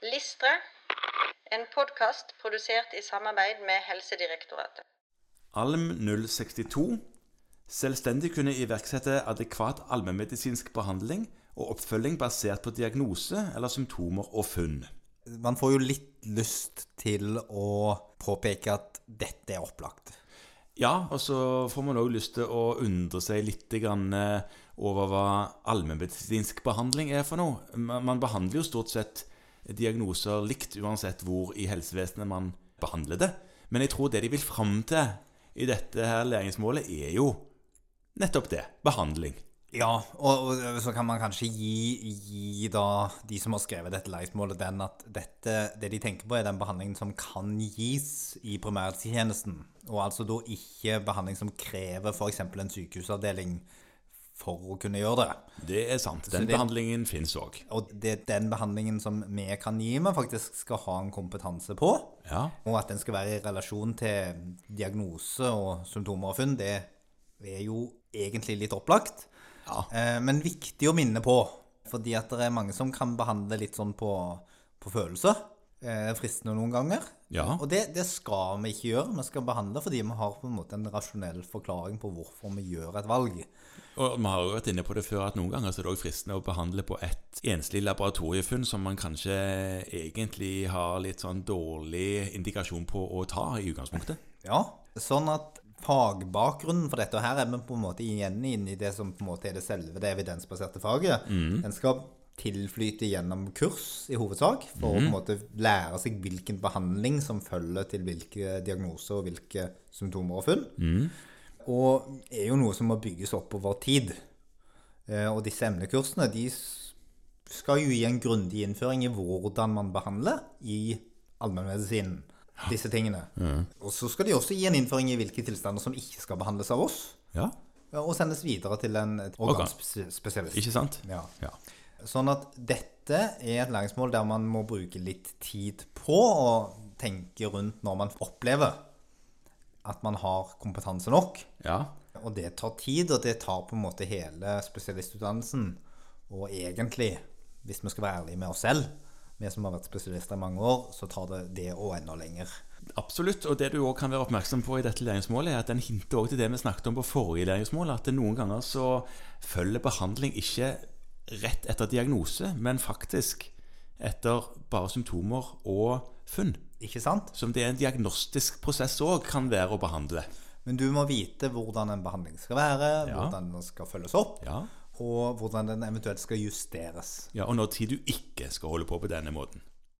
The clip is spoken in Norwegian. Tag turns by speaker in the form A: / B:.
A: Listre, en podkast produsert i samarbeid med Helsedirektoratet.
B: ALM 062 selvstendig kunne iverksette adekvat allmennmedisinsk behandling og oppfølging basert på diagnose eller symptomer og funn.
C: Man får jo litt lyst til å påpeke at dette er opplagt.
B: Ja, og så får man òg lyst til å undre seg litt grann eh, over hva allmennmedisinsk behandling er for noe. Man man behandler jo stort sett diagnoser likt, uansett hvor i helsevesenet man behandler det. Men jeg tror det de vil fram til i dette her læringsmålet, er jo nettopp det. Behandling.
C: Ja, og, og så kan man kanskje gi, gi da de som har skrevet dette læringsmålet, den at dette, det de tenker på, er den behandlingen som kan gis i primærtjenesten. Og altså da ikke behandling som krever f.eks. en sykehusavdeling for å kunne gjøre det.
B: Det er sant. Den
C: det-
B: behandlingen fins òg.
C: Og det er den behandlingen som vi kan gi, vi faktisk skal ha en kompetanse på.
B: Ja.
C: Og at den skal være i relasjon til diagnose og symptomer og funn, det er jo egentlig litt opplagt.
B: Ja.
C: Eh, Men viktig å minne på, fordi at det er mange som kan behandle litt sånn på, på følelser. Eh, Fristende noen ganger.
B: Ja.
C: Og det, det skal vi ikke gjøre. Vi skal behandle fordi vi har på en måte en rasjonell forklaring på hvorfor vi gjør et valg.
B: Og vi har jo vært inne på det før at noen ganger så er det også fristende å behandle på et enslig laboratoriefunn som man kanskje egentlig har litt sånn dårlig indikasjon på å ta i utgangspunktet.
C: Ja, sånn at fagbakgrunnen for dette, og her er vi på en måte igjen inne i det som på en måte er det selve det evidensbaserte faget, den skal tilflyte gjennom kurs i hovedsak, for å på en måte lære seg hvilken behandling som følger til hvilke diagnoser og hvilke symptomer og funn. Og er jo noe som må bygges opp over tid. Eh, Og disse emnekursene, de s- skal jo gi en grundig innføring i hvordan man behandler i allmennmedisinen. Disse tingene. Og så skal de også gi en innføring i hvilke tilstander som ikke skal behandles av oss,
B: Ja,
C: ja, og sendes videre til en et organspesialist.
B: ikke sant?
C: Ja.
B: Ja.
C: Sånn at dette er et læringsmål der man må bruke litt tid på å tenke rundt når man opplever at man har kompetanse nok.
B: ja.
C: Og det tar tid, og det tar på en måte hele spesialistutdannelsen. Og egentlig, hvis vi skal være ærlige med oss selv, vi som har vært spesialister i mange år, så tar det det og enda lenger.
B: Absolutt. Og det du òg kan være oppmerksom på i dette læringsmålet, er at den hinter òg til det vi snakket om på forrige læringsmål, at det noen ganger så følger behandling ikke rett etter diagnose, men faktisk etter bare symptomer og funn.
C: Ikke sant?
B: Som det er en diagnostisk prosess òg kan være å behandle.
C: Men du må vite hvordan en behandling skal være,
B: Ja.
C: hvordan den skal følges opp,
B: Ja.
C: og hvordan den eventuelt skal justeres.
B: Ja, og når tid du ikke skal holde på på denne måten.